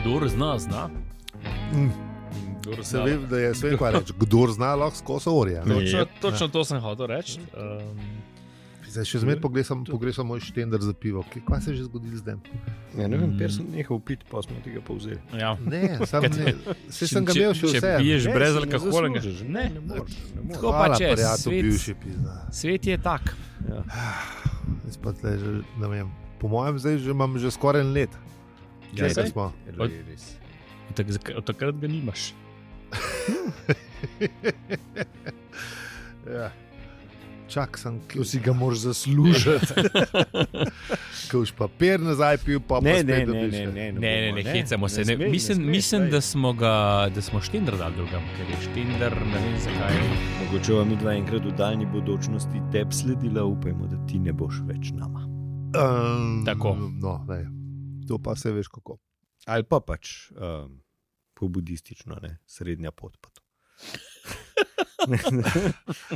Kdor zna, zna. Mm. Ja. Kdor Se zna. vem, da je svet kvar reči, kdo zna lahko skozi orje. ne. Točno, Jep. točno to sem hotel reči. Um, Zdaj še zmeraj pogrešam, pogrešam moj štender za pivo. Kaj, kaj se je že zgodilo zdaj? Ja, ne vem, ker Mm. sem nehal pit, pa smo tega povzeli. ja. Ne, sam ne. Se sem ga Če- imel še če vse. piješ- Ne, brez si ne alkoholnega. zaslužiš, Ne. Ne, ne moreš. ne moreš. Tako Hvala, pač je, prijatelj, svet- bivši pizda. Svet je tak. Ja. Jaz pa tle že, ne vem, Po mojem, zdaj že imam že skoraj en let. Ja, Kje saj. smo? Od- Ej, res. Tak, zak- od takrat ga nimaš. Ja. Čak sem, ki si ga moraš zaslužiti. Ko už papir nazaj pil, pa pa Ne, spet ne, ne, dobiš, ne, Ne, ne, ne, ne, bomo, ne hecamo se. Ne, smej, ne mislim, smej, smej, mislim daj. da smo ga, da smo štender dali drugam, ker je štender, ne vem zakaj. Mogoče vam dva enkrat v daljni bodočnosti tep sledila, upajmo, da ti ne boš več nama. Ehm, Tako. No, ne. To pa se veš kako. Ali pa pač um, po budistično, ne? srednja pot. Pa to. ne, ne,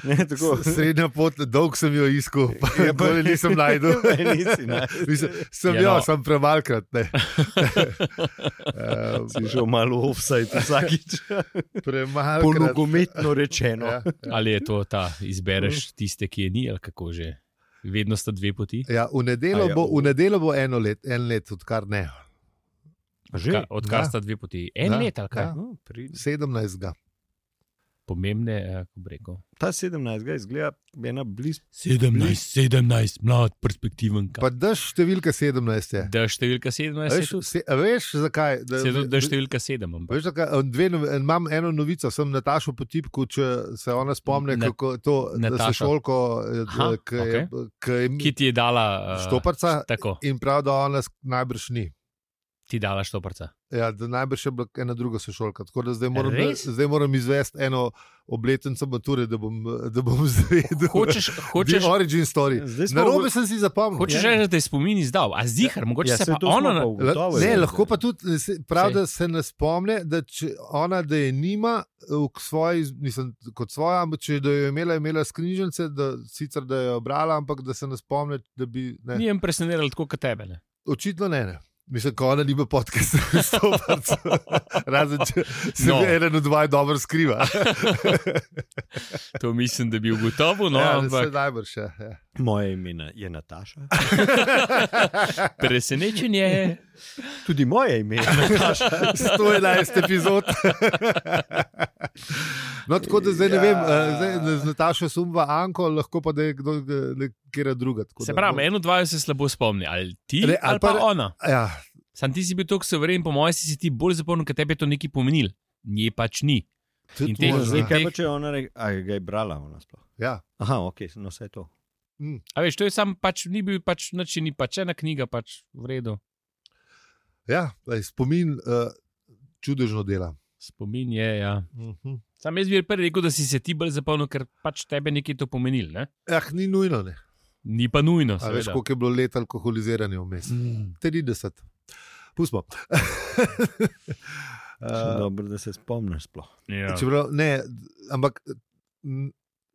ne, tako. S- Srednja pot, dolg sem jo iskal, pa Ja, je pa- pa nisem najdel. Ja, Nisi našel. Mislim, sem Ja, jo, no. sem premalkrat. ne. Eh, Ehm, Si šel malo offside vsakič. Po Premalkrat. nogometno rečeno. Ja, Ali je to ta, Mm. izbereš tiste, ki je ni, ali kako že. Vedno sta dve poti. ja, v, nedelo A ja, bo, u. v nedelo bo eno let, en let, odkar ne. Ka, Že? odkar da. sta dve poti? En Da, let ali kaj? da. No, pri- 17. ga. Pomembne, eh, kako bi rekel. Ta 17 ga izgleda ena blizu. 17, 17, mlad, perspektiven. Pa daš številka 17. je. Da, številka 17 je Veš, tudi. se, a veš zakaj? Da, Se tudi Da, ve- številka 7. ampak. Veš, zakaj? Em, dve, novi- em, imam eno novico, sem Natašo potipku, če se ona spomne, Na- kako to Nataša. Nataša. šolko, Aha, ki je, Ki okay. ti je dala eh, štoparca Tako, in prav, da ona sk- najbrž ni. ti dala štoparca. Ja, da najbrž je bila ena druga sošolka. Tako da zdaj moram, Res? zdaj moram izvesti eno obletnico mature, da bom, da bom zvedel. Hočeš, hočeš, The origin story. Zdaj smo Narobe v- sem si zapomnil. hočeš Ja. reči, da je spomin izdal, a zihar, mogoče se saj pa to smo ona. na- La- ugotovili. Ne, lahko pa tudi eh, se- prav, Sej. da se ne spomne, da če ona da je nima eh, v k svoji, mislim, kot svoja, ampak če da jo je imela, je imela skrižnice, da sicer da jo je brala, ampak da se ne spomne, da bi. Ne. Ni jim presenetilo tako kot tebe. Ne? Očitno ne. ne. Mislim, ko ona nima podkasta, razen če se No. no. eden od dva dobro skriva. To mislim, da bi ugotovil, no, ja, ja, Se ampak najbrž še. Ja. Moje ime je Nataša. presenečen je. Tudi moje ime je Nataša. 111 epizod. No, tako da zdaj ne Ja. vem, eh, zdaj z Natašo Sumba, Anko, lahko pa da je kdo, eh, nekera druga. tako Se da- pravi, eh. eno, dva se slabo spomni, ali ti Ne, ali, ali ali pa pa ne- ona. Ja, Sam ti si bil tako severen, po mojem si, si ti bolj zapomnil, ker tebi je to nekaj pomenil. Nje pač ni. tudi In teh možno, Zdaj, ja. kaj pa če je ona reče, a ga je brala ona sploh. Ja, Aha, ok, no vse to. A veš, to je sam pač, ni bil pač nič, ni pač ena knjiga, pač v redu. ja lej, spomin uh, čudežno dela. Spomin je, ja. Uh -huh. Sam jaz bi prvi rekel, da si se ti bolj zapomnil, ker pač tebe nekaj to pomenil, ne? Eh, ni nujno, ne. Ni pa nujno. A veš, seveda. koliko je bilo let alkoholiziranja vmes? Mm. 30. Pustimo. Uh, uh, Dobro, da se spomniš sploh. Ja. Čeprav, ne, ampak m,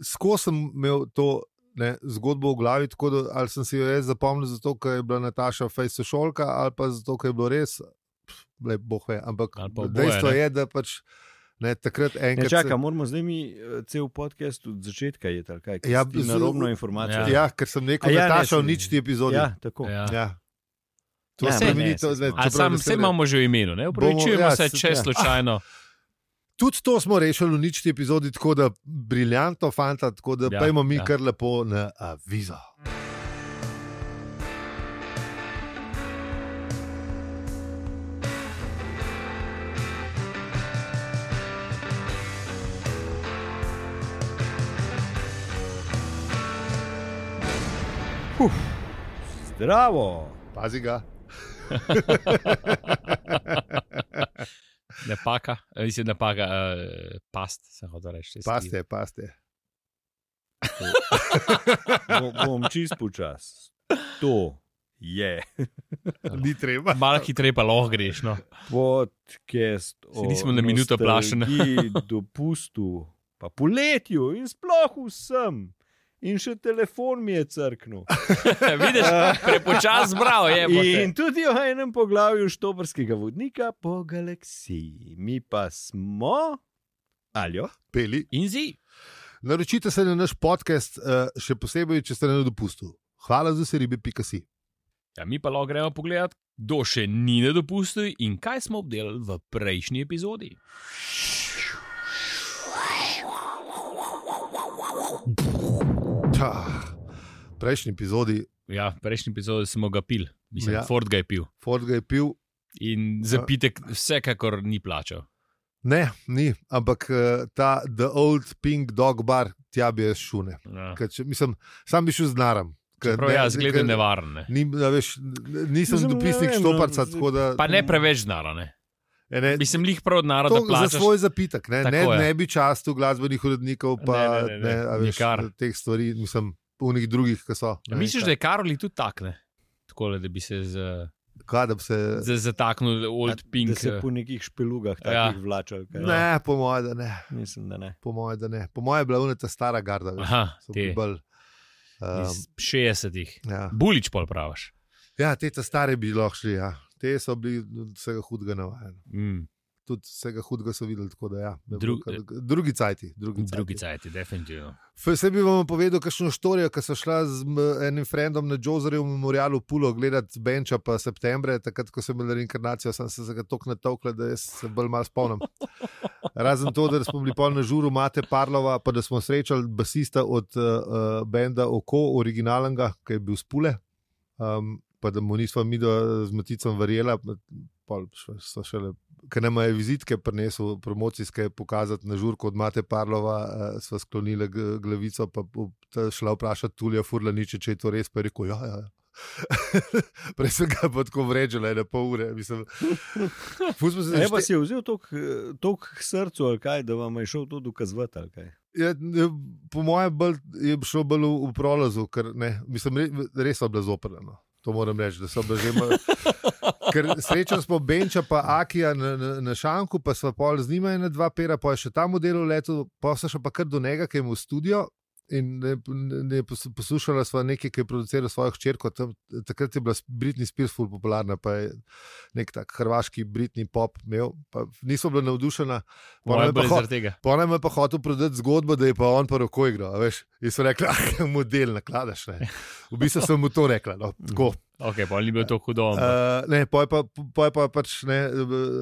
skozi sem imel to ne, zgodbo v glavi, tako da ali sem si jo res zapomnil, zato ker je bila Nataša Face šolka, ali pa zato ker je bilo res, pf, le boh ve. Ampak Ali pa oboje, dejstvo ne. je, da pač ne, takrat Ne, enkrat. se- čaka, moramo zdaj mi eh, cel podcast od začetka je tako, kaj Ja, je z- narobno informacijo. Ja. Ja, ker sem rekel, A ja, da ne, Nataša sem- uničiti epizodi. ja, tako. Ja. Ja. To Ja, se ne, spremeni, ne, to se zdaj. smo- A čeprav sam ne se vse ne- imamo že v imenu, ne upravičujemo Bomo- ja, se, se- če ja. slučajno. Tudi to smo rešili uničiti epizodi, tako da briljantno, fanta, tako da Ja, ja, pojmo mi ja. ja. kar lepo na avizo. Zdravo. Pazi ga. Napaka, mislim, napaka, uh, past, se hoče reči. Paste, paste. Bo, bom čist počas. To je Ni treba. Malo hitreje pa lahko greš. No. podcast o Saj nismo na minuto plašeni. nostalgiji, dopustu, pa poletju in sploh vsem. In še telefon mi je crknil. Vidiš, prepočas zbral je. In tudi o enem poglavju štobrskega vodnika po galaksiji. Mi pa smo, alijo, Peli. In zi. Naročite se na naš podcast, eh, še posebej, če ste na dopustu. Hvala za vse ribe, pika si. Ja, mi pa lahko gremo pogledat, kdo še ni na dopustu in kaj smo obdelali v prejšnji epizodi. Ta, prejšnji epizodi Ja, v prejšnji epizodi smo ga pil, mislim, Ja. ja. Ford ga je pil. Ford ga je pil. In zapitek vsekakor ni plačal. Ne, ni, ampak eh, ta The Old Pink Dog Bar, tja bi jaz šune. Ja. Ker Če, mislim, sam bi šel z naram. Ker Prav, ja, zgleda ker nevarne. Ni, a veš, n- nisem Mislim, ne dopisnik vem, no, štoparca, z- tako da. Pa ne preveč znarane. e, ne, Mislim, lih prav od naroda to za plačaš. svoj zapitek. Ne, ne, Tako je. ne bi častil glasbenih urednikov, pa Ne, ne, ne, ne, a veš, nikar. teh stvari, mislim, unih drugih, ki so. Ja, misliš, da je Karoli tudi takne? Tako da bi se z, Kaj, da bi se. z, zataknil Old Ja, Pink. eh, da se po nekih špelugah Ja. takih ja. vlačal. kaj? Ne, po mojem, da ne. Mislim, da ne. Po mojem, da ne. Po mojem je bila uneta stara garda. Veš, Aha, so bili te bolj. Um, iz 60-ih. ja. Bulič pol praviš. ja, te ta stare bi lahko šli, ja. te so bili vsega hudega navajeni. Mm, Tudi vsega hudega so videli, tako da ja. je Dru- bilo kar- drugi cajti. Drugi cajti. drugi cajt, definitivno. Vse bi vam povedal, kakšno štorijo, ki so šla z m, enim frendom na Jozerju v memorialu Pulo gledati Benča pa septembra, takrat, ko sem imel reinkarnacijo, sem se za ga tako natovkla, da jaz se bolj malo spomnim. Razen to, da smo bili pol na žuru Mate Parlova, pa da smo srečali basista od uh, uh, benda Oko, originalenga, ki je bil spule, um, pa da mu nismo mi do, z Maticom verjela, pol so šele ker nam je vizitke prinesel, promocijske pokazati na žurku od Mate Parlova, uh, sva sklonila g- glavico, pa bo ta šla vprašati Tulija Furlaniče, če je to res, pa je rekel, ja, ja. ja." Prej sem ga pa tako vrečila, ena pol ure. Mislim, ful smo se Ne, pa zašte- si je vzel toliko k srcu, ali kaj, da vam je šel to dokazovati. ali kaj? Ja, ne, po mojem, bolj, je šlo bolj v, v prolazu, ker ne, mislim, re, res so bile zoprne. No. To moram reči, da so bile že malo. Ker srečali smo Benča, pa Akija na, na, na šanku, pa smo pol z njima ena dva pera, pa je še tam v delu letu, pa so še pa kar do njega, ki je mu v studio. In ne, ne, pos- poslušala sva nekaj, ki je produciral svojo hčerko. Tam, takrat je bila s- Britney Spears ful popularna, pa je nek tak hrvaški Britney pop imel. pa Nisem bila navdušena. Pol me Moje je pa bolj ho- zaradi tega. Ponem je pa hotel prodati zgodbo, da je pa on pa roko igral. a Veš, jaz sem rekla, da je model nakladaš. Ne. V bistvu sem mu to rekla. No, tako. Ok, pa ni bil to hudo. ampak- Uh, ne, poj pa, poj pa pač ne,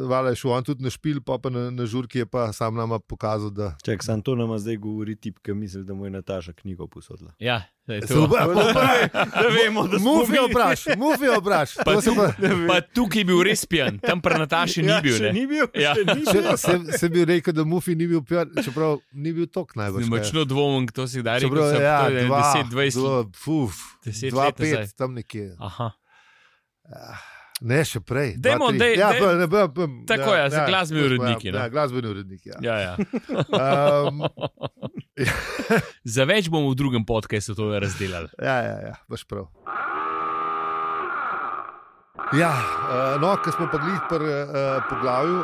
vala je šel on tudi na špil, poj pa na, na žurki je pa sam nama pokazal, da. Čak, sam to nama zdaj govori tip, ki misli, da mu je Nataša knjigo posodila. Ja, zdaj to. Zelo Da vemo, Mufijo vpraš, mufijo vpraš. Pa, To se tu, pa- pa tukaj je bil res pijan, tam pri Nataši ni bil. Ja, Ne? Še ni bil. Ja. še ni bil. Če- Sem se bil rekel, da mufi ni bil pijan, čeprav ni bil tok najbolj. Močno dvomim, kdo si da reče. ja, 10, 20 let. 20, 10 2, let nazaj. 5, tam nekje. Aha. Ne, še prej. dva, Dajmo, tri. daj- ja, daj- pa, ne, pa, pa, Tako je, za glasbeni ja, uredniki, Ja, ne. ja, glasbeni uredniki. Ja. Ja, ja. Um, Za več bomo v drugem podkastu to razdelali. ja, ja, ja, baš prav. Ja, eh, no, ker smo pa glih pri eh, poglavju,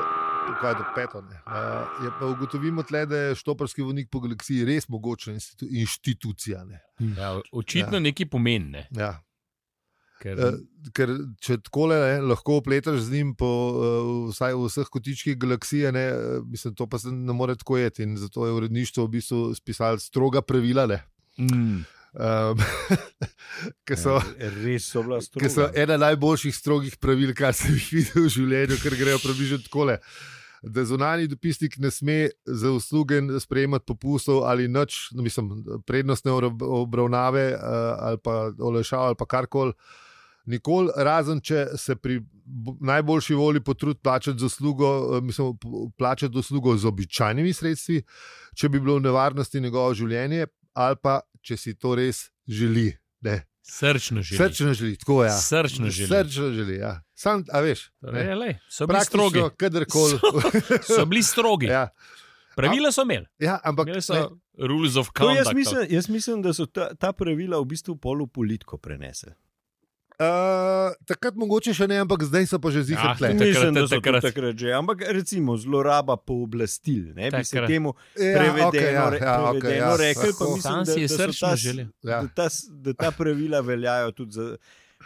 kaj je to peto, ne, eh, je pa ugotovimo tle, da je štoparski vonik po galaksiji res mogočna institu inštitucija. Ne. Ja, očitno Ja. ja. nekaj pomeni. Ne? Ja. Ker, Eh, ker če tako le lahko opletaš z njim po uh, vsaj v vseh kotičkih galaksije, ne, eh, mislim, to pa se ne more tako jeti. In zato je uredništvo v bistvu spisalo stroga pravila, ne, mm, um, ki so. Ja, Res so bila Ki so e- stroga. ena najboljših strogih pravil, kar sem jih videl v življenju, ker grejo približno tako. Da zunani dopisnik ne sme za usluge sprejemati popustov ali nič, no, mislim, prednostne obra- obravnave eh, ali pa olajšav ali pa karkoli. Nikoli, razen če se pri bo- najboljši volji potrud plačati zaslugo, eh, mislim, p- plačati zaslugo z običajnimi sredstvi, če bi bilo v nevarnosti njegovo življenje, ali pa če si to res želi. Ne. srčno želim. Srčno želi, tako ja. Srčno želim. Srčno želi, ja. Sam, a veš, Torej, ne, glej, so bili strogi. eh, praktično, kadarkoli. So bili strogi. ja. ja, Pravila so imeli. ja, ampak Imeli so ne, rules of To conduct. jaz, mislim, jaz mislim, da so ta, ta pravila v bistvu polu politiko prenesli. Uh, takrat mogoče še ne, ampak zdaj so pa že Ah, zihar tle. takrat, Mislim, da so to takrat. takrat že. Ampak recimo zloraba pooblastil, ne bi se Takrat. temu Ja, prevedeno, okej, ja, re- ja, okej, prevedeno ja, rekel, pa lahko. mislim, Sam si je da- da so srčno ta- želel. Ja. Da ta, s- da ta pravila veljajo tudi za.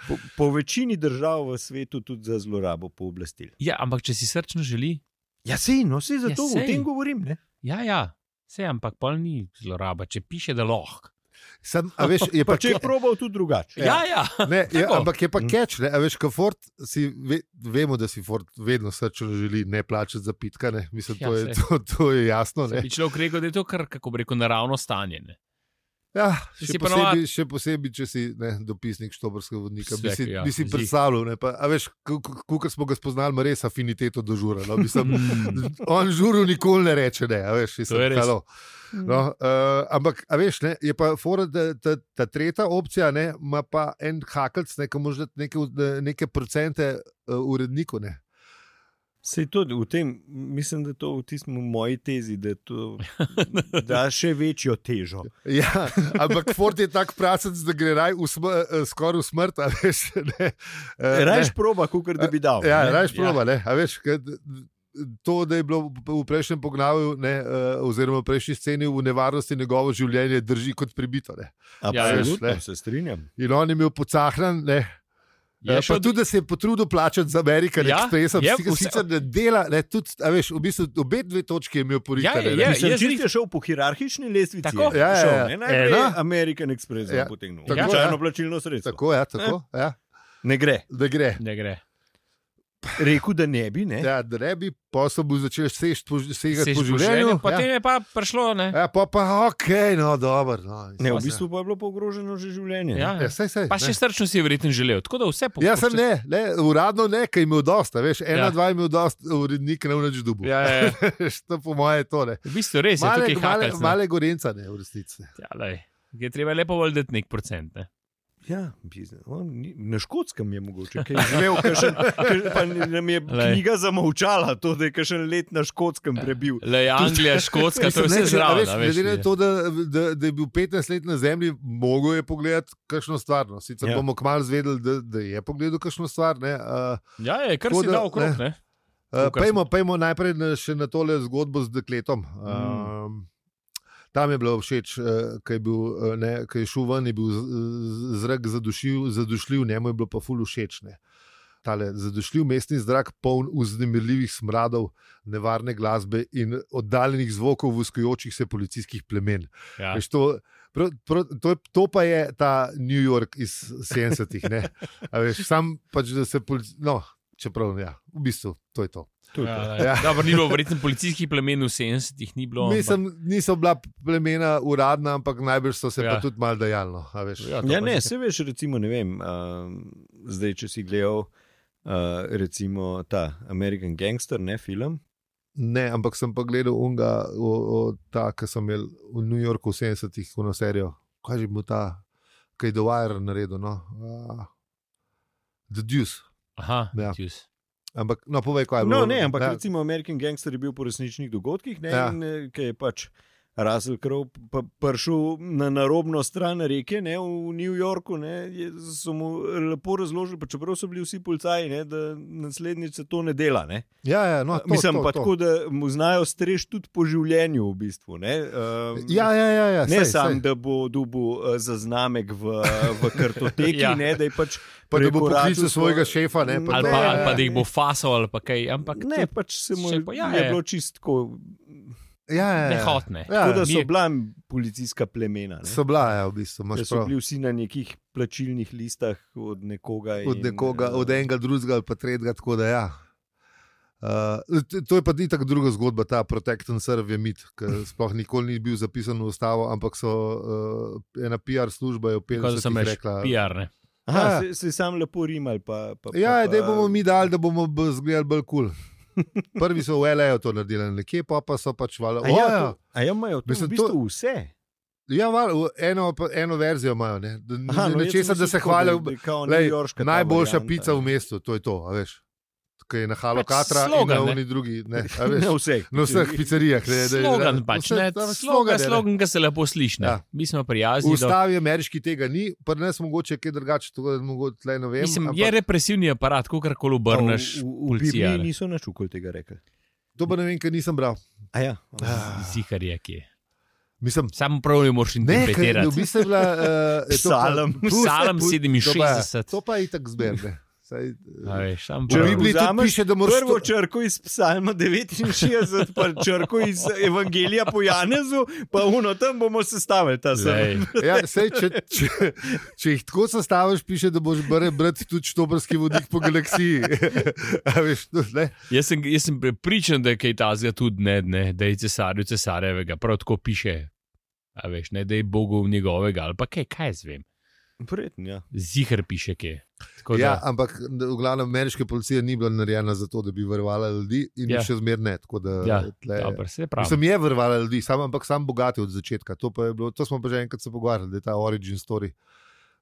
Po, po večini držav v svetu tudi za zlorabo pooblastil. Ja, ampak če si srčno želi, Ja, sej, no, sej zato Ja, ja, sej. o tem govorim. Ne? ja, ja. Vse, ampak pol ni zloraba, če piše, da lahko. Sam, a veš, je Pa pa če ke- je probal tudi drugače. Ja, ja. Ne, je, Tako. ampak je pa Mm. keč, ne, a veš, kot Ford, si ve, vemo, da si Ford vedno srčno želi ne plačati za pitka. Ne. Mislim, Ja, to, je, saj. to, to je jasno. Bi Ne. človek rekel, da je to kar, kako bi rekel, naravno stanje. Ne? Ja, Si še, pa navad- posebej, še posebej, če si ne, dopisnik štobrskega vodnika, bi Vsek, si, ja, bi si zih. predstavljal. Ne, pa, a veš, kot smo ga spoznali, ima res afiniteto do žura. No, mislim, Mm. on žuru nikoli ne reče, ne, a To veš, je mislim, res. halo. No, uh, ampak, a veš, ne, je pa fora, da ta, ta tretja opcija ne, ima pa en hakelc, ne, ki može dati neke, v- neke procente uh, uredniku. Ne. Sej to, v tem, mislim, da je to v tistem moji tezi, da to da še večjo težo. Ja, ampak Ford je tako pracen, da gre raj v sm eh, skoraj v smrt, a veš. Ne, Eh, Rajš ne. proba, kot da bi dal. Ja, ne. rajš proba, ne, a veš. Kad, To, da je bilo v v prejšnjem poglavju, ne, eh, oziroma v prejšnji sceni, v nevarnosti njegovo življenje drži kot pribito. Ne. Ja, Absolutno, veš, ne. se strinjam. In on je imel pocahnan, ne, Je Je pa Ja, pa tudi, da se je potrudil plačati za Amerikan Ja, ja, Express, je, ki vse- sicer ne dela, ne, tudi, a veš, v bistvu obe dve točki je imel porihtane. Ja, ne. Mislim, je če zriht- si šel po hierarhični lestvici, Tako. je Ja, ja, šel, ja. ne, najprej Ena. American Express Ja. ja. potegnil. Tako, Običajno ja. plačilno sredstvo. Tako, ja, tako, ja, Ne gre. da gre. Ne gre. Rekel, da ne bi. Ne? Ja, da ne bi posel bo začel sežt po, segati Seš po po življenju. življenju, Potem je pa prišlo. Ne? Ja. ja, pa pa ok, no, dobro. No, Ne, v bistvu pa je bilo pa ogroženo že življenje. Ja. ne. Ja, sej, sej, Pa še srčno si je verjetno želel. Tako da vse Ja, pokušaš. sem ne, ne, uradno ne, ker je imel dosta, veš, Ja. ena, ja. dva je imel dosta, urednik ne vnač dubu. Ja, ja, ja. to po moje je to ne. V bistvu res je Male, tukaj male, hakalc, ne. male gorenca ne, v resnici. Ja, lej. Je treba lepo voljeti nek procent. Ne? Ja, bizne- on ni- na škotskem je mogoče kaj živel, kakšen, pa ni- nam je Glej. knjiga zamolčala, to, da je kakšen let na škotskem prebil. Le Anglija, Škotska, to je Mislim, vse ne, če- a zraven. veš, a veš, Glede je. na to, da, da, da je bil 15 let na zemlji, mogel je pogledati kakšno stvar. No. Sicer Ja. ja. bomo kmalo zvedeli, da, da je pogledal kakšno stvar. ne, a- Ja, je, kar Tako si da, dal okrog. ne. Ne? a, Kakor Pojdimo pojdimo Eh, najprej na, še na tole zgodbo z dekletom. Um, Tam je bilo všeč, ki je, bil, eh, ne, ko je šel ven, je bil z- z- zrak zadušil, zadušljiv, njemu je bilo pa ful všeč. Ne. Tale zadušljiv mestni zrak, poln vznemirljivih smradov, nevarne glasbe in oddaljenih zvokov vuskujočih se policijskih plemen. Ja. Veš, to, prav, prav, to, je- to pa je ta New York iz 70-ih. ne. A Veš, sam pač, da se policija. No, čeprav, ja, v bistvu to je to. Ja, Ja. ja. Dobro, ni bilo verjetno policijskih plemen v 70-ih, ni bilo. ampak- Mislim, niso bila plemena uradna, ampak najbrž so se ja. Ja. pa tudi malo dajalno. a veš. Ja, to Ja, pa ne, že- se veš, recimo, ne vem, uh, zdaj, če si gledal, uh, recimo ta American Gangster, ne film. Ne, ampak sem pa gledal unga, o, o, ta, ki sem imel v New Yorku v 70-ih, uno serijo. Kaj je bil ta, ki je Dwyer naredil? No? Uh, The Deuce. Aha, Ja. ja. Ampak, no, povej, kaj je bilo. No, ne, ampak Ja. recimo American Gangster je bil po resničnih dogodkih, ne, Ja. ja. ki je pač Russell Crowe p- prišel na narobno stran reke ne, v New Yorku. Ne, je, so mu lepo razložili, pa čeprav so bili vsi policaji, ne, da naslednjič se to ne dela. Ne. Ja, ja, no, to, Mislim to, pa to. tako, da mu znajo strež tudi po življenju v bistvu. Ne, um, Ja, ja, ja, ja Ne sej, samo, sej. da bo dobil eh, zaznamek v, v kartoteki, Ja. ja. ne, da je pač. Pa da bo preko poklical računsko- svojega šefa, ne, pa Ali Ne, pa, ne, ali pa ne. da jih bo fasal ali pa kaj, ampak Ne, pač se mu še je, pa- ja, je. je bilo čistko. ja, ja, ja. nehotne. Ja, Tako da Ni- so bila policijska plemena. Ne? So bila, ja, v bistvu, Da imaš so prav. bili vsi na nekih plačilnih listah od nekoga. Od in, nekoga, eh, od enega, drugega ali pa tretjega, tako da ja. Uh, to je pa tako druga zgodba, ta Protect and Serve je mit, ki sploh nikoli ni bil zapisan v ustavo, ampak so uh, ena PR služba je v Tako da sem 50-ih rekla. PR. Ne. Aha, Ja. se, se je sam lepo rimal. Pa, pa, pa, Ja, pa- da bomo mi dali, da bomo b- zgledali bolj kul. Cool. Prvi so v L.A. to naredili, nekje pa, pa so pač valjda. A "O, ja, ja." to- a ja, imajo to Mislim, v bistvu vse. Ja, val, eno, pa- eno verzijo imajo. Ne? Da, Aha, no, jaz sem nečesa, da mislil se tako, hvalijo. da je kao Lej, newyorška ta Najboljša varianta. pica v mestu, to je to. a veš. ki je na Halo Pač Katra in slogan, na ne. oni drugi. Ne, a veš, Na vseh. na vseh pizzerijah. Ne, da je- Slogan da- pač, vse- ne, tam slogan, je, ne. slogan, ki se lepo sliši. Ja. Ja. Mi smo V prijazni. do- ustavi ameriški tega ni, pa nas mogoče je kaj drugače, tako da mogoče tle ne vem. Mislim, ampak je represivni aparat, ko karkoli obrneš, V- v- V policija, Bibliji ne. niso nič okoli tega rekli. To pa ne vem, ker nisem bral. A ja. zihar Ah. je kje. Mislim, Sam prav ne moreš ne, ker interpretirati. v bistvu je bila. Uh, Psalm. Psalm 67. To pa je tako zberne. Saj, A veš, sam Če prav. v Bibliji tudi vzameš piše, da moraš Prvo to- črko iz Psalma 69, pa črko iz Evangelija po Janezu, pa uno tam bomo sestavili ta Lej, svet. Ja, sej, če, če, če jih tako sestaviš, piše, da boš bere brati tudi štobrski vodik po galaksiji. A veš, to, ne? Jaz sem, jaz sem prepričan, da je kaj tazga tudi ne, ne, da je cesarju cesarevega, prav tako piše. A veš, ne, da je Bogu njegovega ali pa kaj, kaj jaz vem. Prijetno, ja. Zihar piše kje. Tako ja, da, ampak v glavnem ameriška policija ni bila narejena za to, da bi varovala ljudi in Ja. ja. še zmeraj ne. tako Da, ja, tle, dobro, se pravi. Sem je vrvala ljudi, sam, ampak sam bogati od začetka. To, pa je bilo, to smo pa že enkrat se pogovarjali, da je ta origin story.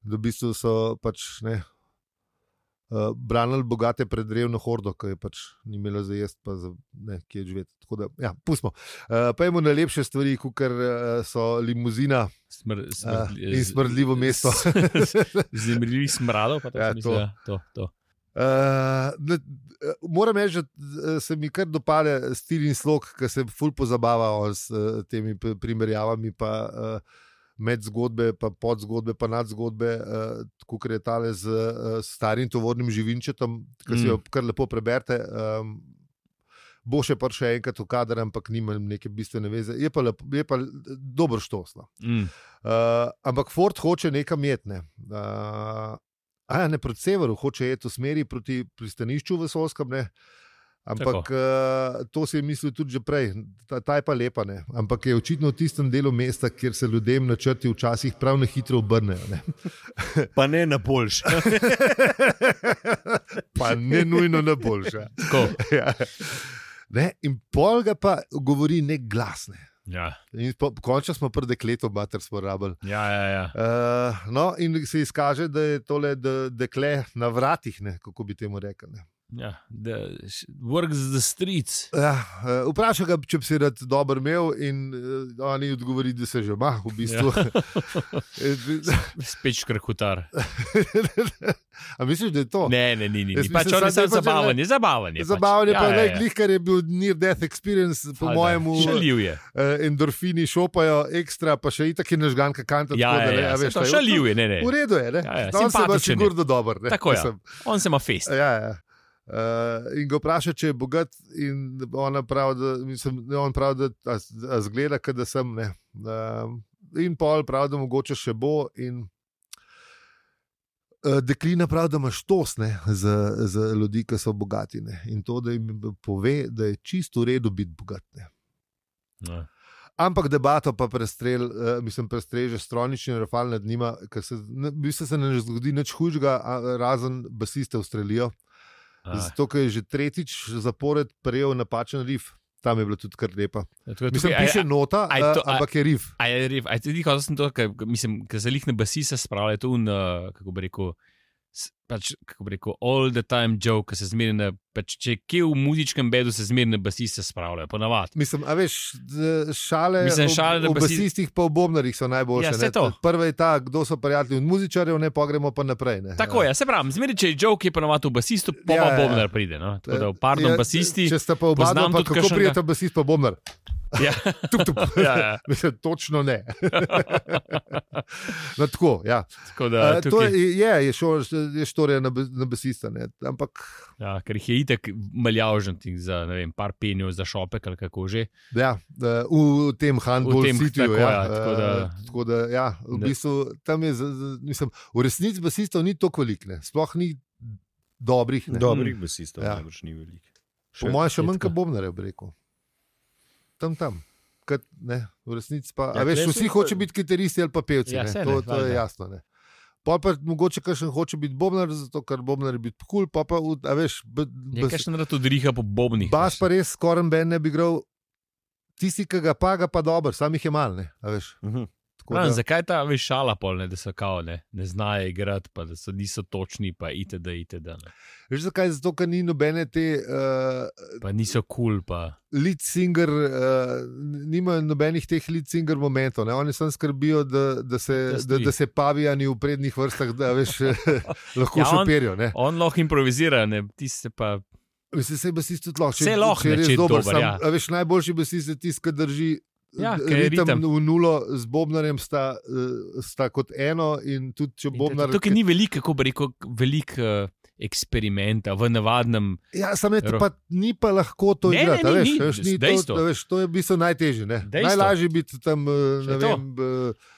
Da v bistvu so pač ne. Uh, branili bogate pred revno hordo, ki je pač ni imela za jesti, pa za ne, ki je živeti. Tako da, ja, pustimo. Uh, pa imamo na lepše stvari, kot uh, so limuzina Smr, smr, uh, in smrdljivo mesto. Zemljivi smrado, pa tako Ja, ja, mislim, to. to. Ja, to, to. Uh, ne, eh, moram reči, da eh, se mi kar dopade stil in slog, ki se ful pozabava o s eh, temi p- primerjavami, pa uh, med zgodbe, pa pod zgodbe, pa nad zgodbe, uh, tako kot je tale z uh, starim tovornim živinčetom, ki si jo kar lepo preberete. Um, Bo še pa še enkrat v kader, ampak nima neke bistvene veze. Je pa, lepo, je pa eh, dobro štosno. Mm. Uh, ampak Ford hoče nekam jetne. Uh, a ja, ne proti severu, hoče jeti v smeri proti pristanišču v Solskem. Ne? Ampak uh, to si je mislil tudi že prej, ta, ta je pa lepa. Ne? Ampak je očitno v tistem delu mesta, kjer se ljudem načrti včasih prav na hitro obrnejo. Ne? Pa ne na boljš. pa ne nujno na boljše. Tako. ja. Ne? In pol ga pa govori ne glasne. Ja, In po, končno smo prde kleto, bater smo rabili. ja, ja. ja. Uh, no, in se izkaže, da je tole de, dekle na vratih, ne, kako bi temu rekli. ne. ja. The, works the streets. Ja, eh, vprašaj ga, če bi se rad dobro imel, in uh, oni odgovori, da se že ima, v bistvu. Ja. Spet škrkutar. A misliš, da je to? Ne, ne, ni, ni. Jaz ni. Pač mislim, on je sad je samo pa že- zabaven, je zabaven. je pač. Zabavno je pa, Ja, ja, ja, ja. ja. ker je bil near death experience, po Pa da, mojem, Šaljiv je. endorfini šopajo ekstra, pa še itak je nažgan kakanta. Ja, ja, ja, veš, to, šaljiv je, ne, ne. V redu je, ne? Ja, ja, on se pa simpatičen je. sigurno dobro. ne, Tako je. mislim. On se ima fest. Ja, ja. Uh, in ga vpraša, če je bogat, in ona pravi, da, mislim, ne, on pravi, da a, a zgleda, kot da sem. Ne. Uh, in pol pravi, da mogoče še bo. In, uh, deklina pravi, da imaš tosne za, za ljudi, ki so bogati. Ne. In to, da jim pove, da je čisto v redu biti bogat. Ne. Ja. Ampak debato pa prestrel, uh, mislim, prestreže stronični rafal nad njima, ker se, ne, v bistvu se ne zgodi nič hujšega, a- razen basiste ustrelijo. A, Zato ker je že tretjič zapored prejel napačen rif. Tam je bilo tudi kar lepa. tako je Mislim, tukaj- a- piše nota, a je to- a- ampak je rif. A je rev, a ti dihal, sem to, ker mislim, ker se lih ne basi se spravlja, to un, eh, kako bi rekel, s- pač, kako bi rekel, all the time joke, ki se zmeri na, pač, če je kje v muzičkem bedu se zmeri na basi se spravlja, ponavadi. Mislim, a veš, d- šale, Mislim, šale, da v, v basi- basistih, pa v bombnarjih so najboljše. Ja, saj ne. to. Prva je ta, kdo so prijatelji od muzičarjev, ne pa gremo pa naprej. Ne. Tako je, ja, se pravi, zmeri, če je joke, je ponavadi v basistu, pa Ja, pa ja, ja. bobnar pride, no. Tako da, pardon, Ja, basisti. Če ste pa oba, dva, poznam pa tudi kako kakšnega- prijeta basist pa bombnar? Ja, Tup, tup. ja, ja, Mislim, točno ne. no, tako, ja. tako A, da, to tukaj, je, je, je, šor, je štorija na, bas- na basista, ne. ampak ja, ker jih je itek maljavžen ti za, ne vem, par penjev za šopek ali kako že. Ja, eh, v tem handball V tem, sitiju. tako, Ja, ja, tako da- eh, tako da ja, v Ne. bistvu tam je, z- z- mislim, v resnici basistov ni toliko velik, ne. sploh ni dobrih. ne. Dobrih basistov Ja. ja. najbrž ni veliko. Po mojem, še je manj, tako. kot Bobnare, bi rekel. Tam, tam. Kad, ne, v resnici pa. Ja, Ja, veš, tule so vsi pa- hoče biti kitaristi ali pa pevci. Ja, ne. saj ne, to, to je valjda. jasno. Ne. Pa pa mogoče kakšen hoče biti Bobnar, zato ker Bobnar je biti kul, cool, pa pa, v- a veš, b, Je b, kakšen rad odriha po bobnih. baš pa res skoraj ben ne bi igral. Tisti, ki ga pa, ga pa dober, sam jih je mal, ne, a veš. Mhm. Tako Tako Pravim, da- zakaj ta veš šala pol, ne, da so kao ne, ne znajo igrati, pa da so, niso točni, pa itd. itd. ne. Veš zakaj? Zato, ker ni nobene te uh, Pa niso kul, cool, pa lead singer, uh, nimajo nobenih teh lead singer momentov. Ne? Oni samo skrbijo, da, da, se, Da da, stoji. da se pavijani v prednjih vrstah, da veš, lahko Ja, ja, on- šoperijo. ne. on lahko improvizira, ne, ti se pa. Mislim, se basist tudi lahko. Saj lahko, ne, je če res je dober. dober, sam, ja. a Veš, najboljši basist je tisti, ki drži. Ja, eh, ker je ritem ritem. v nulo z Bobnarjem sta, eh, sta kot eno, in tudi če Bobnar. Tukaj ni veliko, kako bi rekel, veliko uh, eksperimenta v navadnem. Ja, samo je to Ro- pa ni pa lahko to Ne, ne, igrati. a ni, veš, ni, a veš, ni dejstvo. to, a veš, to je v bistvu najtežje. ne. Dejstvo. Najlažje je biti tam, eh, Še ne to. vem, eh,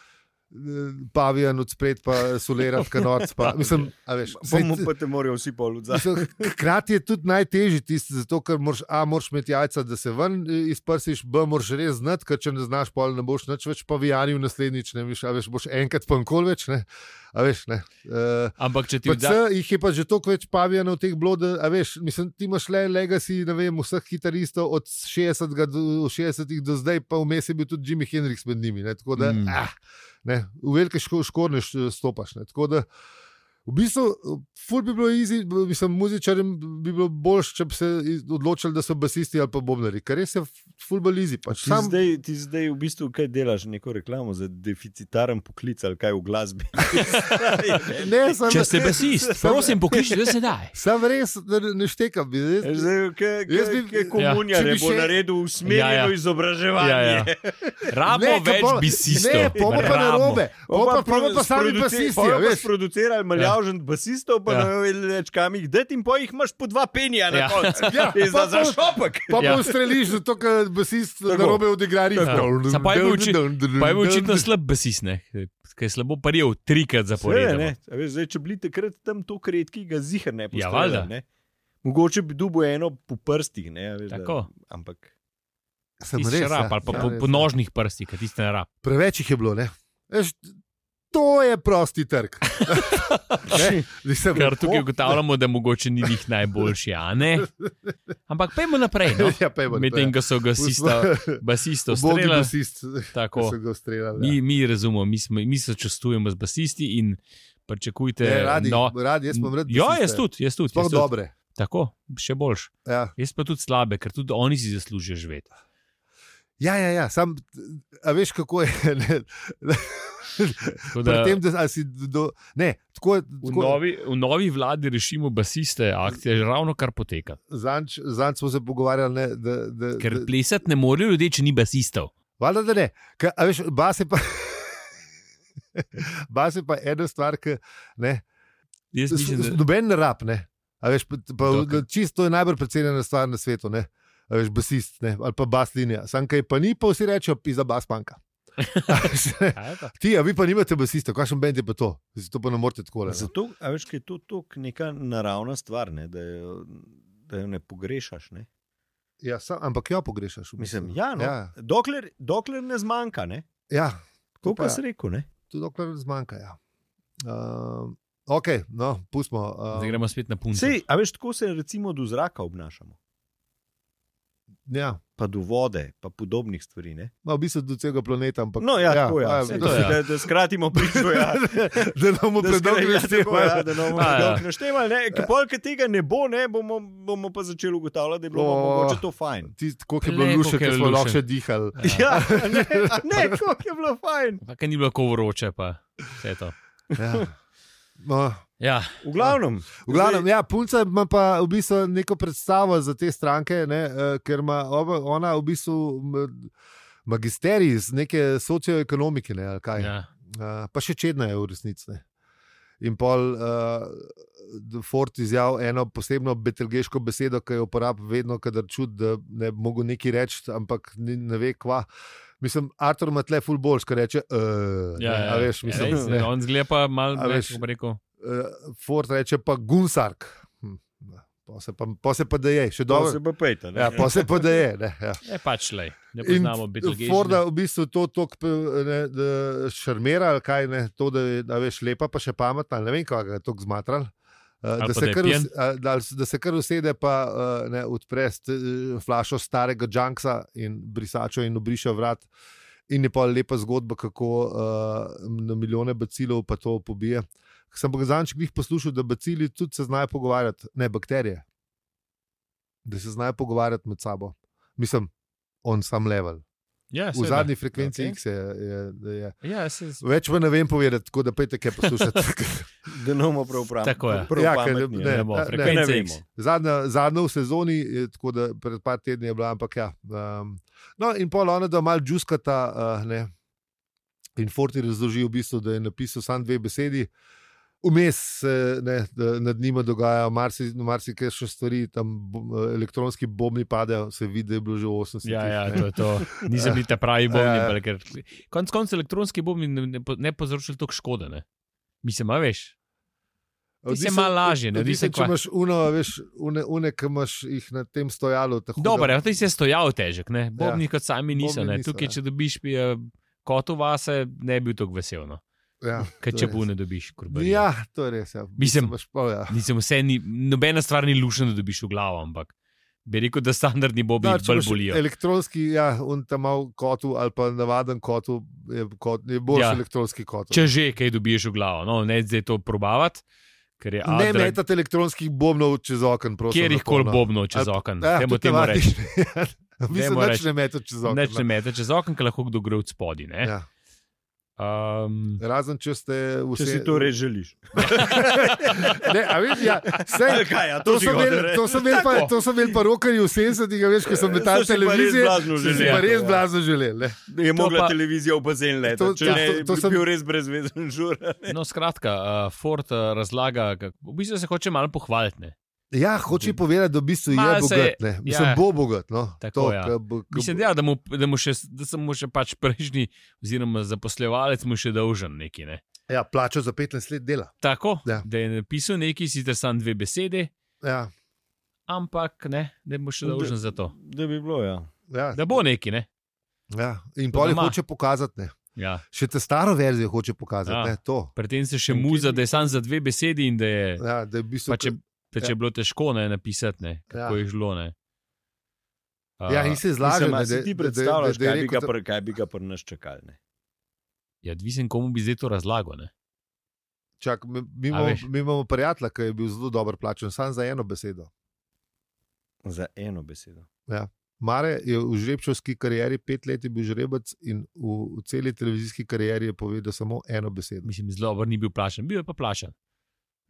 pavijan od spred, pa solerati kanoc. Pa, mislim, a veš, Bomo saj- pa te morajo vsi pol odzad. Mislim, Hkrati je tudi najtežji tisti, zato ker moraš, a, moraš imeti jajca, da se ven eh, izprsiš, b, moraš res znati, ker če ne znaš, pol ne boš nič več pavijanil naslednjič, ne veš, a veš, boš enkrat pa nikoli več, ne, a veš, ne. Uh, Ampak če ti Pač vda, se jih je pa že toliko več pavijanov teh bilo, da a veš, mislim, ti imaš le legacy, ne vem, vseh kitaristov od 60 do 60 do zdaj, pa vmes je bil tudi Jimi Hendrix med njimi. Ne, tako da, Mm. mm. ah, ne, v velike ško, škorne š- stopaš. Ne, tako da, v bistvu, ful bi bilo easy, b- mislim, muzičarjem bi bilo boljš, če bi se iz- odločili, da so basisti ali pa bobnari, ker res je f- ful bolj easy. Pač. Ti Sam, zdaj, ti zdaj v bistvu kaj delaš, neko reklamo za deficitaren poklic ali kaj v glasbi. ne, sam, če si basist, Sam- prosim, pokliči, da se daj. sam res ne, ne štekam. bi Res, Veš, Zdaj, kaj, Jaz kaj, bi- kaj Ja. komunija ja. Če bi ne še- bo še... naredil usmerjeno Ja, ja, ja. ja. izobraževanje. Ja, Ja, ja. ja. Rabo Ne, ne, ke več pol- bisistov. Ne, pomo pa ne Rabo. robe, pomo pa, pomo pa sami basisti. a Veš, veš. sproducirali maljavžen ja. basistov, pa Ja. ja. ne veš več kam jih dati in po jih imaš po dva penija na Ja. ja. koncu. Ja, Je pa za, za pol- šopek. Pa Ja. pa ustreliš, zato ker basist na robe odigra ritem. Ja. Samo pa je bil oči- Pa je bil očitno slab basist, ne, ker je slabo paril trikrat Seveda, zapored. ne. A Veš, zdaj, če bili takrat tam to redki, ga zihar ne Ja, postavljajo. valjda. ne. Mogoče bi dubo eno po prstih. Ne, a veš, Tako. Da, ampak Sem Ti si res, rab, ja, ali pa ja, po, res, po ja. nožnih prstih, ki tiste ne rab. Preveč jih je bilo, ne? Veš, to je prosti trg. Ne, mislim, Ker tukaj oh, ugotavljamo, da mogoče ni njih najboljši, a ne. Ampak pojdimo naprej. No. Ja, pejmo. Medtem, ko so gasista, basista Bogi streljali, basist, ko tako. so ga ustrelali. ja. Mi, mi razumemo, mi, smo, mi se čustujemo z basisti in pričakujte, ja. Ne, Radi, no, radi, jaz sem rad. Ja, basiste. jaz tudi, jaz tudi. Sploh jaz tudi. dobre. Tako, še boljš. Ja. Jaz pa tudi slabe, ker tudi oni si zaslužijo živeti. Ja, ja, ja, sam, a veš kako je. Ne, Tako da, da tem, da, a si do, ne, tako, je- V tako, novi, v novi vladi rešimo basiste, akcija je ravno kar poteka. Zanč, zanč smo se pogovarjali, ne, da, da, Ker da, plesati ne morejo ljudje, če ni basistov. valjda, da ne. Ka, a veš, bas je pa. bas je pa ena stvar, ki ne. Jaz s- mislim, s- da Noben ne rab, ne. A veš, pa, pa, Dokaj. čisto je najbolj precenjena stvar na svetu, ne. A veš, basist ne, ali pa bas linija. Sam kaj pa ni, pa vsi rečejo, pisa bas manjka. A veš, ne. Kaj je to? Ti, a vi pa nimate basista, kakšen bend je pa to, zato pa ne morete tako reči. zato, a veš, kaj je to tok neka naravna stvar, ne, da, jo, da jo ne pogrešaš. Ne. Ja, sam, ampak jo pogrešaš. v Mislim, bistvu. ja, no, ja, ja. Dokler, dokler ne zmanjka, ne. ja, Tako pa pa si rekel, ne. tudi dokler zmanjka. Ja. Um, ok, no, pustimo. Zdaj Um, gremo spet na punce. Sej, a veš, tako se recimo do zraka obnašamo, ja, pa do vode, pa podobnih stvari. Ne? no, v bistvu do celega planeta. Ampak, No, ja, tako ja, ja, saj to, to ja. ja. Da, da skratimo pričo. Ja. da ne bomo Da predolgo skra- ja, tako, ja, gledali. da ne bomo Ja, ja. predolgo naštevali, ne, ker pol, ker tega ne bo, ne, bomo, bomo pa začeli ugotavljati, da je bilo O. oh. mogoče to fajn. Tako je bilo Glej, lušče, koliko je ker smo lušen. lahko še dihali. Ja, a ne, a ne kako je bilo fajn. Pa kaj ni bilo tako vroče, pa vse to. Ja. No, Ja, V glavnem, v glavnem, ja, punca ima pa v bistvu neko predstavo za te stranke, ne, eh, ker ima oba- ona v bistvu m, magisterij iz neke socioekonomike. Ne, ali kaj. ja. Uh, pa še čedna je v resnici. ne. In pol uh, Fort izjavil eno posebno betelgeško besedo, ki jo uporablja vedno, kadar čuti, da ne bi mogel nekaj reči, ampak ni, ne ve kva. Mislim, Artur ima tle full bolj, ki reče, uh, ja, ne, ja. a veš, mislim, res, ne. on zgleda pa malo, A veš. več, kako bi rekel. Uh, Fort reče pa Gunsark. Hm, ne, Pa se pa, pa, se pa da je, še to dobro. se pa pejte. Ja, pa se pa da je. Ne, ja. Je pač le, ne In poznamo biti. Forda v bistvu to tako šarmira, ali kaj ne, to, da je a veš, lepa, pa še pametna, ali ne vem, kaj ga je tako zmatral. eh, Ali Da pa se, da je kar, pijan. us- a, da, ali s- da se kar usede, pa eh, ne, odpre st- eh, flašo starega Junksa in brisačo in obriše vrat. In je pa lepa zgodba, kako uh, na milijone bacilov pa to pobije. Ker Sem pa zadnjič jih poslušal, da bacili tudi se znajo pogovarjati, ne bakterije, da se znajo pogovarjati med sabo. Mislim, on sam level. Ja, V seveda. zadnji frekvenci Okej. okay. X je, je, je. Ja, se, Več pa ne vem povedati, tako da pejte kaj poslušati. da ne bomo prav prav. Tako je. Ja, Prav ker pametni, ne- ne. ne bo, ne, frekvenca ne X. vemo. Zadnja, zadnja v sezoni, eh, tako da pred par tedni je bila, ampak ja. Um, no, in pol ona, da malo džuskata. Uh, ne. in Forti razloži v bistvu, da je napisal samo dve besedi. Vmes se ne, da nad njima dogajajo marsikaj marsi še stvari, tam bom- eh, elektronski bombi padajo, se vidi, da je bilo že v 80-ih. Ja, ja, ne. to je to. Nisem bil ta pravi bombni. Ja. Ja, ja. Konec koncev elektronski bombni ne, ne, po- ne povzročili toliko škode. Ne? Mislim, a veš. Ti si Odvisno- malo lažje, ne, odvisno, odvisno, Če kva- imaš uno, veš, une, une ki imaš jih na tem stojalu. tako da- Dober, ti si ja, stojal težek, ne? Bobni ja. kot sami niso. Bobni ne. niso, Tukaj, ja. če dobiš pi, eh, kotu vase, ne bi bil tako vesel. No? Ja, Kaj to če je bu res. ne dobiš, kurbi. Ja, to je res. Ja. Mislim- imaš pa, ja. Nisem vse, ni, nobena stvar ni lušna, da dobiš v glavo, ampak bi rekel, da standardni bobi no, Da, če bolj imaš bolijo. Elektronski, ja, on tam mal kotu ali pa navaden kotu je, kot, je bolj ja. Ja. elektronski kot. Če že kaj dobiš v glavo, no, ne zdaj to probavati, ker je Ne Adra, metate elektronskih bombov čez okno, prosim. kjer jih kol lepo, no. bobno čez Ali- okno. Ja, Dajmo tudi temu reči. navadiš, ja. Mislim, Dajmo da reči. ne metate čez okno. Neč ne mete čez okno, ker lahko kdo gre od spodaj. ne. Ja. Um, Razen če ste vsi. Če si to res želiš. Ne, a veš, ja, sej, Kaj, ja, to, sem imel, to, sem imel pa, Tako. Ja, to sem imel pa rokarji v 70-ih, a veš, ko sem metal So si pa res televizijo. blazno sem si želel. pa res Ja. blazno želel. ne. Je mogla pa- pa... televizija v bazen leta. To- To, če ja, ne, to- to to, to sem- sem bil res brezvezen žur. no, skratka, uh, Ford uh, razlaga, kak, v bistvu se hoče malo pohvaliti. ne. Ja, hoče povedati, da v bistvu je Malo se bogat. je- ne. Mislim, ja. bo bogat. No. Tako, To, ja. ke bo- ke Mislim, bo- da, ja, da, mu, da, mu še, da sem mu še pač prejšnji, oziroma zaposlevalec mu še dolžen nekaj. Ne. Ja, plačal za 15 let dela. Tako, Ja. ja. da je napisal nekaj, sicer samo dve besede, Ja, ampak ne, da mu še Da- dolžen za to. Da bi bilo, ja. ja. Da bo neki, ne? Ja. In To pol jih doma. hoče pokazati. Ne. Ja. Še te staro verzijo hoče pokazati. Ja. Ne, to. Pri tem se še In kje muza, bi- da je samo za dve besedi in da je. Ja, da je v bistvu, Pa če, pa če ja. je bilo težko ne, napisati, ne, kako Ja. ja. je šlo. Ne. A, ja, in se zlaže. Mislim, ne, a da- si ti da- da- predstavljaš, da je kaj bi rekel, ga da- pri- kaj bi ga pri nas čakali. ne? ja, odvisen, komu bi zdaj to razlagal. Ne. Čak, mi, mi, A imamo, veš. mi imamo prijatelja, ki je bil zelo dobro plačen, samo za eno besedo. Za eno besedo. Mare je v žrebčovski karieri pet let je bil žrebec in v, v celi televizijski karieri je povedal samo eno besedo. Mislim, zelo dobro ni bil plašen, bil je pa plašen.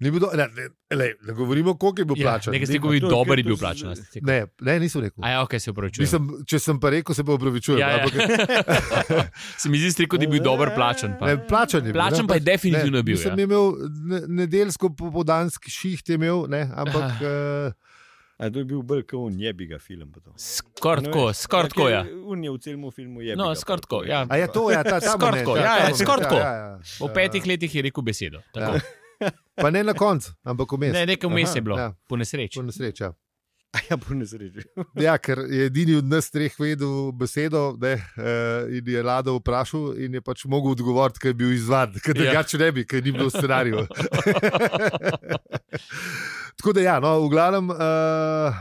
Ni bil do, ne, ne, lej, ne govorimo, koliko je bil plačen. Ja, nekaj ste Ni- govorili, to- dober ker je to bil se- plačen. a ste rekel. ne, ne, nisem rekel. A ja, ok, se upravičujem. Mislim, če sem pa rekel, se pa upravičujem. ja, ja. ampak- se mi zdi, rekel, da je bil dober plačen. Pa. Ne, plačan je bil. Plačen ne, pa je pač- definitivno ne, bil, Sem ja. imel ne- nedeljsko popoldanski šiht, je imel, ne, ampak eh, A to je bil Brkovn, je bi ga film. pa to. Skoraj No, tako, veš, skoraj tako, ja. ker On je v celem filmu je. No, bi ga skoraj pa tako, to, ja. a je to, ja, ta Skoraj ta moment, tako, ja, ja, ta ja, moment, skoraj tako. ja. Po petih letih je rekel besedo. Tako. Pa ne na koncu, ampak vmes. Ne, nekaj vmes Aha, je bilo, ja. po nesreči. Po nesreči. Ja. A ja, po nesreči. ja, ker je edini od nas treh vedel besedo ne, eh, in je Lado vprašal, in je pač mogel odgovoriti, ker je bil izvan, ker Ja. drugače ne bi, ker ni bilo v scenariju. Tako da, ja, no, v glavnem. Eh,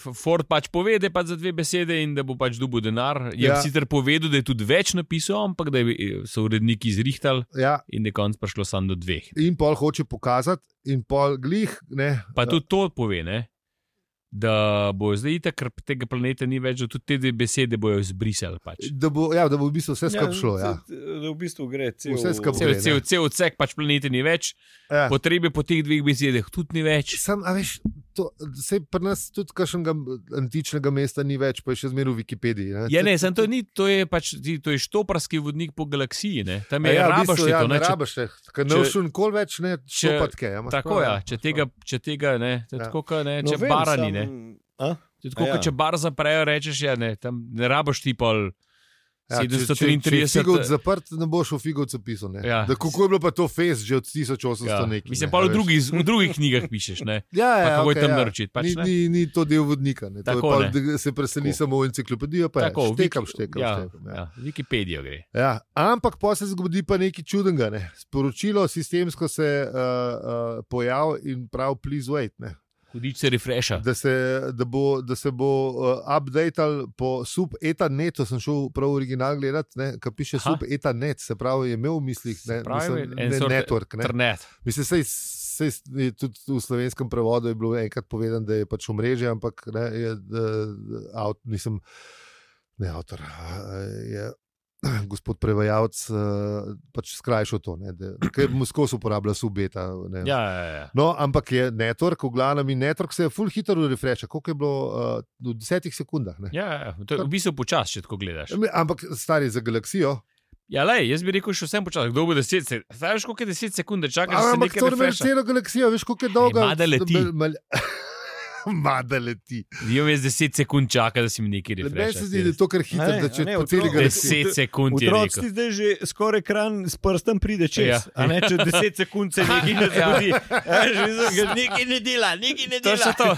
F- Ford pač povede pa za dve besede in da bo pač dobil denar. Je ja. Ja. sicer povedal, da je tudi več napisal, ampak da je, eh, so uredniki izrihtali ja, in da je konc prišlo samo do dveh. in pol hoče pokazati, in pol glih. Ne, Pa tudi to pove, ne? da bo zdaj itak, ker tega planeta ni več, da tudi te dve besede bojo izbrisali. Pač. Da bo, ja, da bo v bistvu vse skupaj šlo. Ja. se- Da v bistvu gre cel, Vse skupaj Cel, gre, ne. cel, cel odsek pač planeta ni več, Ja. potrebe po teh dveh besedah tudi ni več. Sam, a veš, to, sej pri nas tudi kakšnega antičnega mesta ni več, pa je še zmeraj v Wikipediji. Ne? Ja, ne, samo to ni, to je pač ti- to je štoparski vodnik po galaksiji, ne? tam je ja, ja, rabaš ja, ja, to. ne Ne, če, rabaš, ker ne če- všun kol več, ne če- šopatke. Ja, imaš tako prav, ja, če imaš tega, prav. če tega ne, to je Ja. tako, kot ne, No, če vem, barani sam- ne. A? To je Tako, A ja. ja. Če bar zaprejo, rečeš, ja, ne, tam ne rabiš ti pol Ja, če- če- Če je 733. figov zaprt, ne boš v figovcu pisal. ne. Ja. Da, kako je bilo pa to fez že od 1800 Ja, nekaj. mislim, ne, pa a v veš. drugih, v drugih knjigah pišeš. Ne? Ja, ja, Pa kako je okej, tam ja. naročiti, pač ni, ne. ni, ni to del vodnika. Ne. To Tako, je pol, ne. da se preseli Tako. samo v enciklopedijo. pa je, Tako, štekam, Wiki- štekam, ja, štekam, ja. Ja, Wikipedijo gre. Ja, ampak pa se zgodi pa nekaj čudnega. eh, Ne. Sporočilo sistemsko se uh, uh, pojavi in prav, please wait. Ne. Hudič se refresha. da se, da bo, da se bo uh, updatal po sub-etanet, to sem šel prav original gledati, ki piše Aha. sub-etanet, se pravi, je imel v mislih ne, pravi, mislim, en ne sort- network. Ne. Internet. Mislim, sej, sej, je tudi v slovenskem prevodu je bilo enkrat povedano, da je pač omrežje, ampak ne, je, da, avt, nisem, ne avtor. a, Je, gospod prevajalec eh, pač skrajšal to, ne, da, ker mu skozi uporablja subeta. ne. Ja, ja, ja. No, ampak je network, v glavnem, in network se je full hitro refreša, koliko je bilo uh, v desetih sekundah. ne. ja, ja, ja. To je v bistvu počasi, če tako Ja, gledaš. Ampak stari za galaksijo. Ja, lej, jaz bi rekel, še vsem počasi. Kdo bo 10 sekund? Znaš, koliko je 10 sekund, da čakaš, da Ja, se Ampak nekaj to je refresha? celo galaksijo, veš, koliko je dolga. mada leti. Mada leti. Dio jaz 10 sekund čaka, da si mi nekaj Meni se refresha. zdi, da je to kar hitro, A ne, da a če ne, po celi otrok- galaksiji. 10 sekund je Otrok rekel. ti zdaj že skoraj ekran s prstom pride Ja. čez. Ja. Ne, če 10 sekund se nekaj ne zgodi, A, že mislim, ga nekaj ne dela, nekaj ne To dela. je to.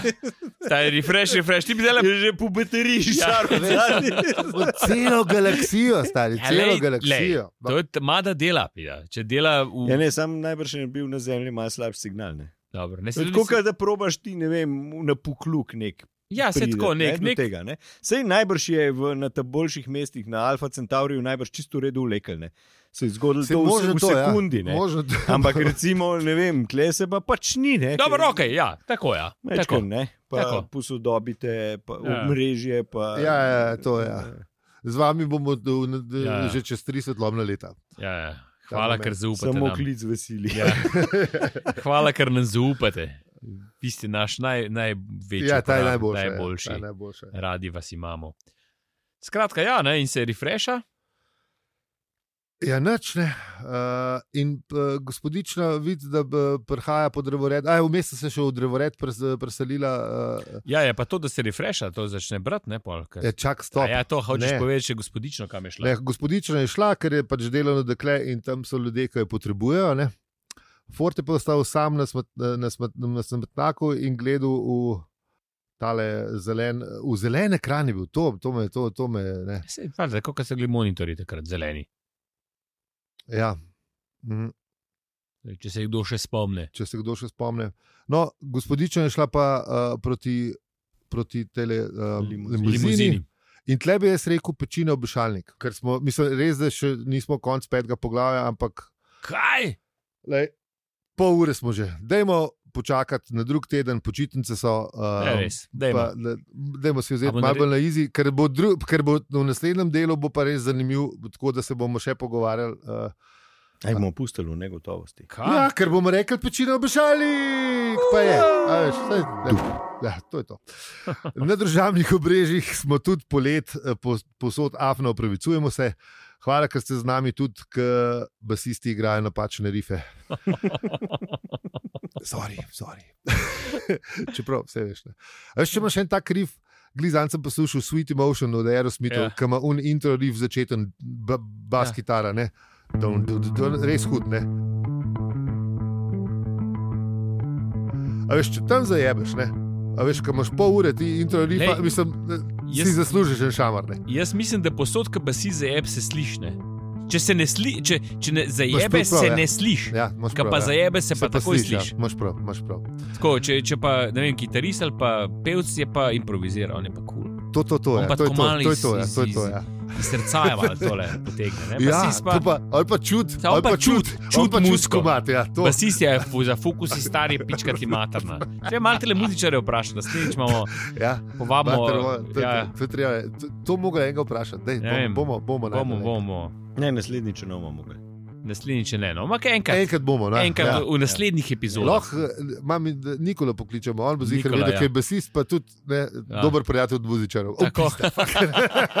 Staj, refresh, refresh, ti bi zdaj Je že po bateriji Ja. šarp. Po Celo galaksijo, stari, Ja, celo lej, galaksijo. lej, To je t- mada dela, pija. če dela v. Ja, ne, sam najbrž je bil na zemlji malo slab signal. Ne. Dobro, ne, se Tako, kot da probaš ti, ne vem, na pokluk nek. ja, se pride, tako, nek, ne, do nek, Tega, ne. Sej najbrž je v, na ta boljših mestih, na Alfa Centauriju, najbrž čisto v redu ulekel. Ne. Se je zgodilo Se to možno v, v to, ja. sekundi. ne. Možno to. Ampak recimo, ne vem, kle se pa pač ni. Ne, Dobro, ok, ja, tako ja. Mečko, Tako. ne, pa Tako. tako. posodobite, pa Ja. ja. mrežje. Pa, Ja, ja, ja, to, ja. Z vami bomo do- na- d- Ja, ja. že čez 30 lomna leta. Ja, ja. Hvala, ker zaupate. Samo Nam. klic veseli. Ja. Hvala, ker nam zaupate. Vi ste naš naj, največji. Ja, ta je uporabnik, najboljša. ja, najboljši. ta je najboljša. Radi vas imamo. Skratka, ja, ne, in se refresha. Ja, nič ne. Uh, in uh, gospodična vidi, da b- prihaja po drevored. Aj, vmes sem se še v drevored pres, preselila. Uh, Ja, je pa to, da se refresha, to začne brati, ne polk. ja, čak, stop. Ja, to hočeš Ne. povedati, če gospodično, kam je šlo. Ne, gospodična je šla, ker je pač delovno dekle in tam so ljudje, ki jo potrebujejo. Ne. Fort je pa ostal sam na, smet, na, smet, na smetnjaku in gledal v, tale zelen, v zelen ekran. je Bil, to, to me, to, to me, ne. Se, valjda, tako kot so bili monitorji takrat zeleni. ja. Mhm. Zdaj, Če se kdo še spomne. če se kdo še spomne. No, gospodična je šla pa uh, proti, proti tele, uh, Limuzini. limuzini. limuzini. In tle bi jaz rekel pečine obešalnik, ker smo, mislim, res, da še nismo konc petega poglavja, ampak Kaj? lej, pol ure smo že. Dajmo počakati na drug teden, počitnice so. Ne, Uh, Ja, res. Dajmo. Dajmo si A vzeti bo malo naredi- bolj na izi, ker, bo dru, ker bo v naslednjem delu bo pa res zanimiv, tako da se bomo še pogovarjali. Uh, Aj bomo pustili v negotovosti. Kaj? Ja, ker bomo rekli, pečine obešali, pa je. A veš, saj, ja, ja, to je to. Na državnih obrežjih smo tudi polet, eh, pos- posod afno, upravičujemo se. Hvala, ker ste z nami tudi, ker basisti igrajo napačne rife. Sorry, sorry. Čeprav vse veš. Ne. A Veš, če imaš en tak rif, glizan sem poslušal Sweet Emotion od Ja. Aerosmitha, yeah. ki ima un intro rif začeten, ba- bas Ja. yeah. kitara, ne. Dun, dun, dun, dun, res hud, ne. A veš, če tam zajebeš, ne. A veš, ko imaš pol ure ti intro rifa, Lej, mislim, jaz... Ja, si jaz- zaslužiš en šamar, ne. Jaz mislim, da posodka basi za jeb se slišne. Če se ne sliši, če, če ne Imaš zajebe, tudi prav, se ja. ne sliši. Ja, imaš Kaj prav, pa ja. zajebe, se pa Se takoj sliši, ja. sliši. Imaš prav, imaš prav. Tako, če, če pa ne vem, kitarist ali pa pevc je pa improviziral, on je pa kul. Cool. To, to, to, On ja. pa to je tako to, malo to je iz- to, ja. iz- to je to, iz- ja. Iz srca je malo tole potegne. Ne? Ja, Basist to pa, ali pa čut, Ja, on ali pa pa čut, čut, čut, čut pa čut muziko. komat, ja, to. Basist je fu- za fokus, stari pičkati materna. Če malo tele muzičare vprašati, naslednjič imamo, Ja. povabimo. Mater, moja, to, ja, to, to, je treba, to, to mogoče enega vprašati, dej, Ne bom, vem. bomo, bomo, bomo, najdel, bomo, Ne, naslednjič ne bomo mogli. naslednjič je ne. No, ampak enkrat, nekaj. Enkrat bomo, ne? enkrat ja. v naslednjih epizodah. Lahko mami Nikola pokličemo, on bo zihar Nikola, vedel, ja. ja. ker je basist, pa tudi ne, Ja. ja. dober prijatelj od muzičarov. O, Tako. pizda, fuck.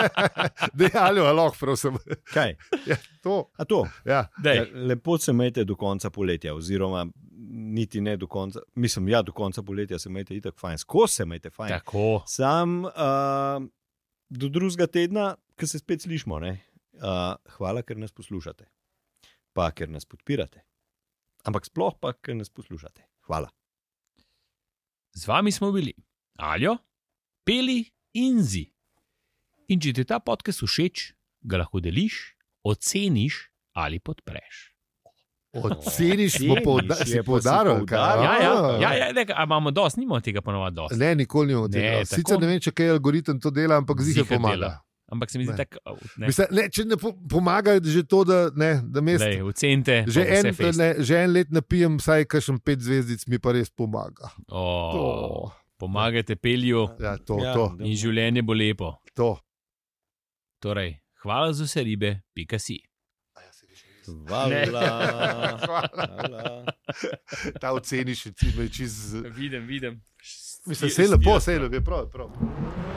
Dej, alo, alo, prosim. Kaj? Ja, to, A to? ja. Dej. Lepo se majte do konca poletja, oziroma niti ne do konca, mislim, ja, do konca poletja se majte itak fajn, skozi se majte fajn. Tak. Tako. Sam uh, do drugega tedna, ki se spet slišmo, ne? uh, hvala, ker nas poslušate, pa ker nas podpirate. Ampak sploh pa, ker nas poslušate. Hvala. Z vami smo bili Aljo, Peli in Zi. In če ti je ta podcast všeč, ga lahko deliš, oceniš ali podpreš. Oceniš, smo Oceniš, je poudarili. pa si poudaril. Ja, ja, ja, ja ne, a imamo dosti, nimamo tega ponovadi dosti. Ah. Ne, nikoli ni od Ne, tega. tako. Sicer ne vem, če kaj algoritem to dela, ampak zihar Ziher pomaga. dela. Ampak se mi zdi Ne. tako, ne, Mislim, ne, če ne po, pomaga, že to, da, ne, da mest, Lej, ocenite. pa že, bo vse en, fejst. ne, že en let napijem, vsaj kakšen pet zvezdic mi pa res pomaga. O, Pomagajte pelju Ja, to, Ja, to, da- in življenje bo lepo. to. Torej, hvala za vse ribe, pika si. Ja, Hvala. Hvala. Ta oceniš, ti me čez. Vidim, vidim. Mislim, vse je lepo, vse je lepo, je prav. je prav.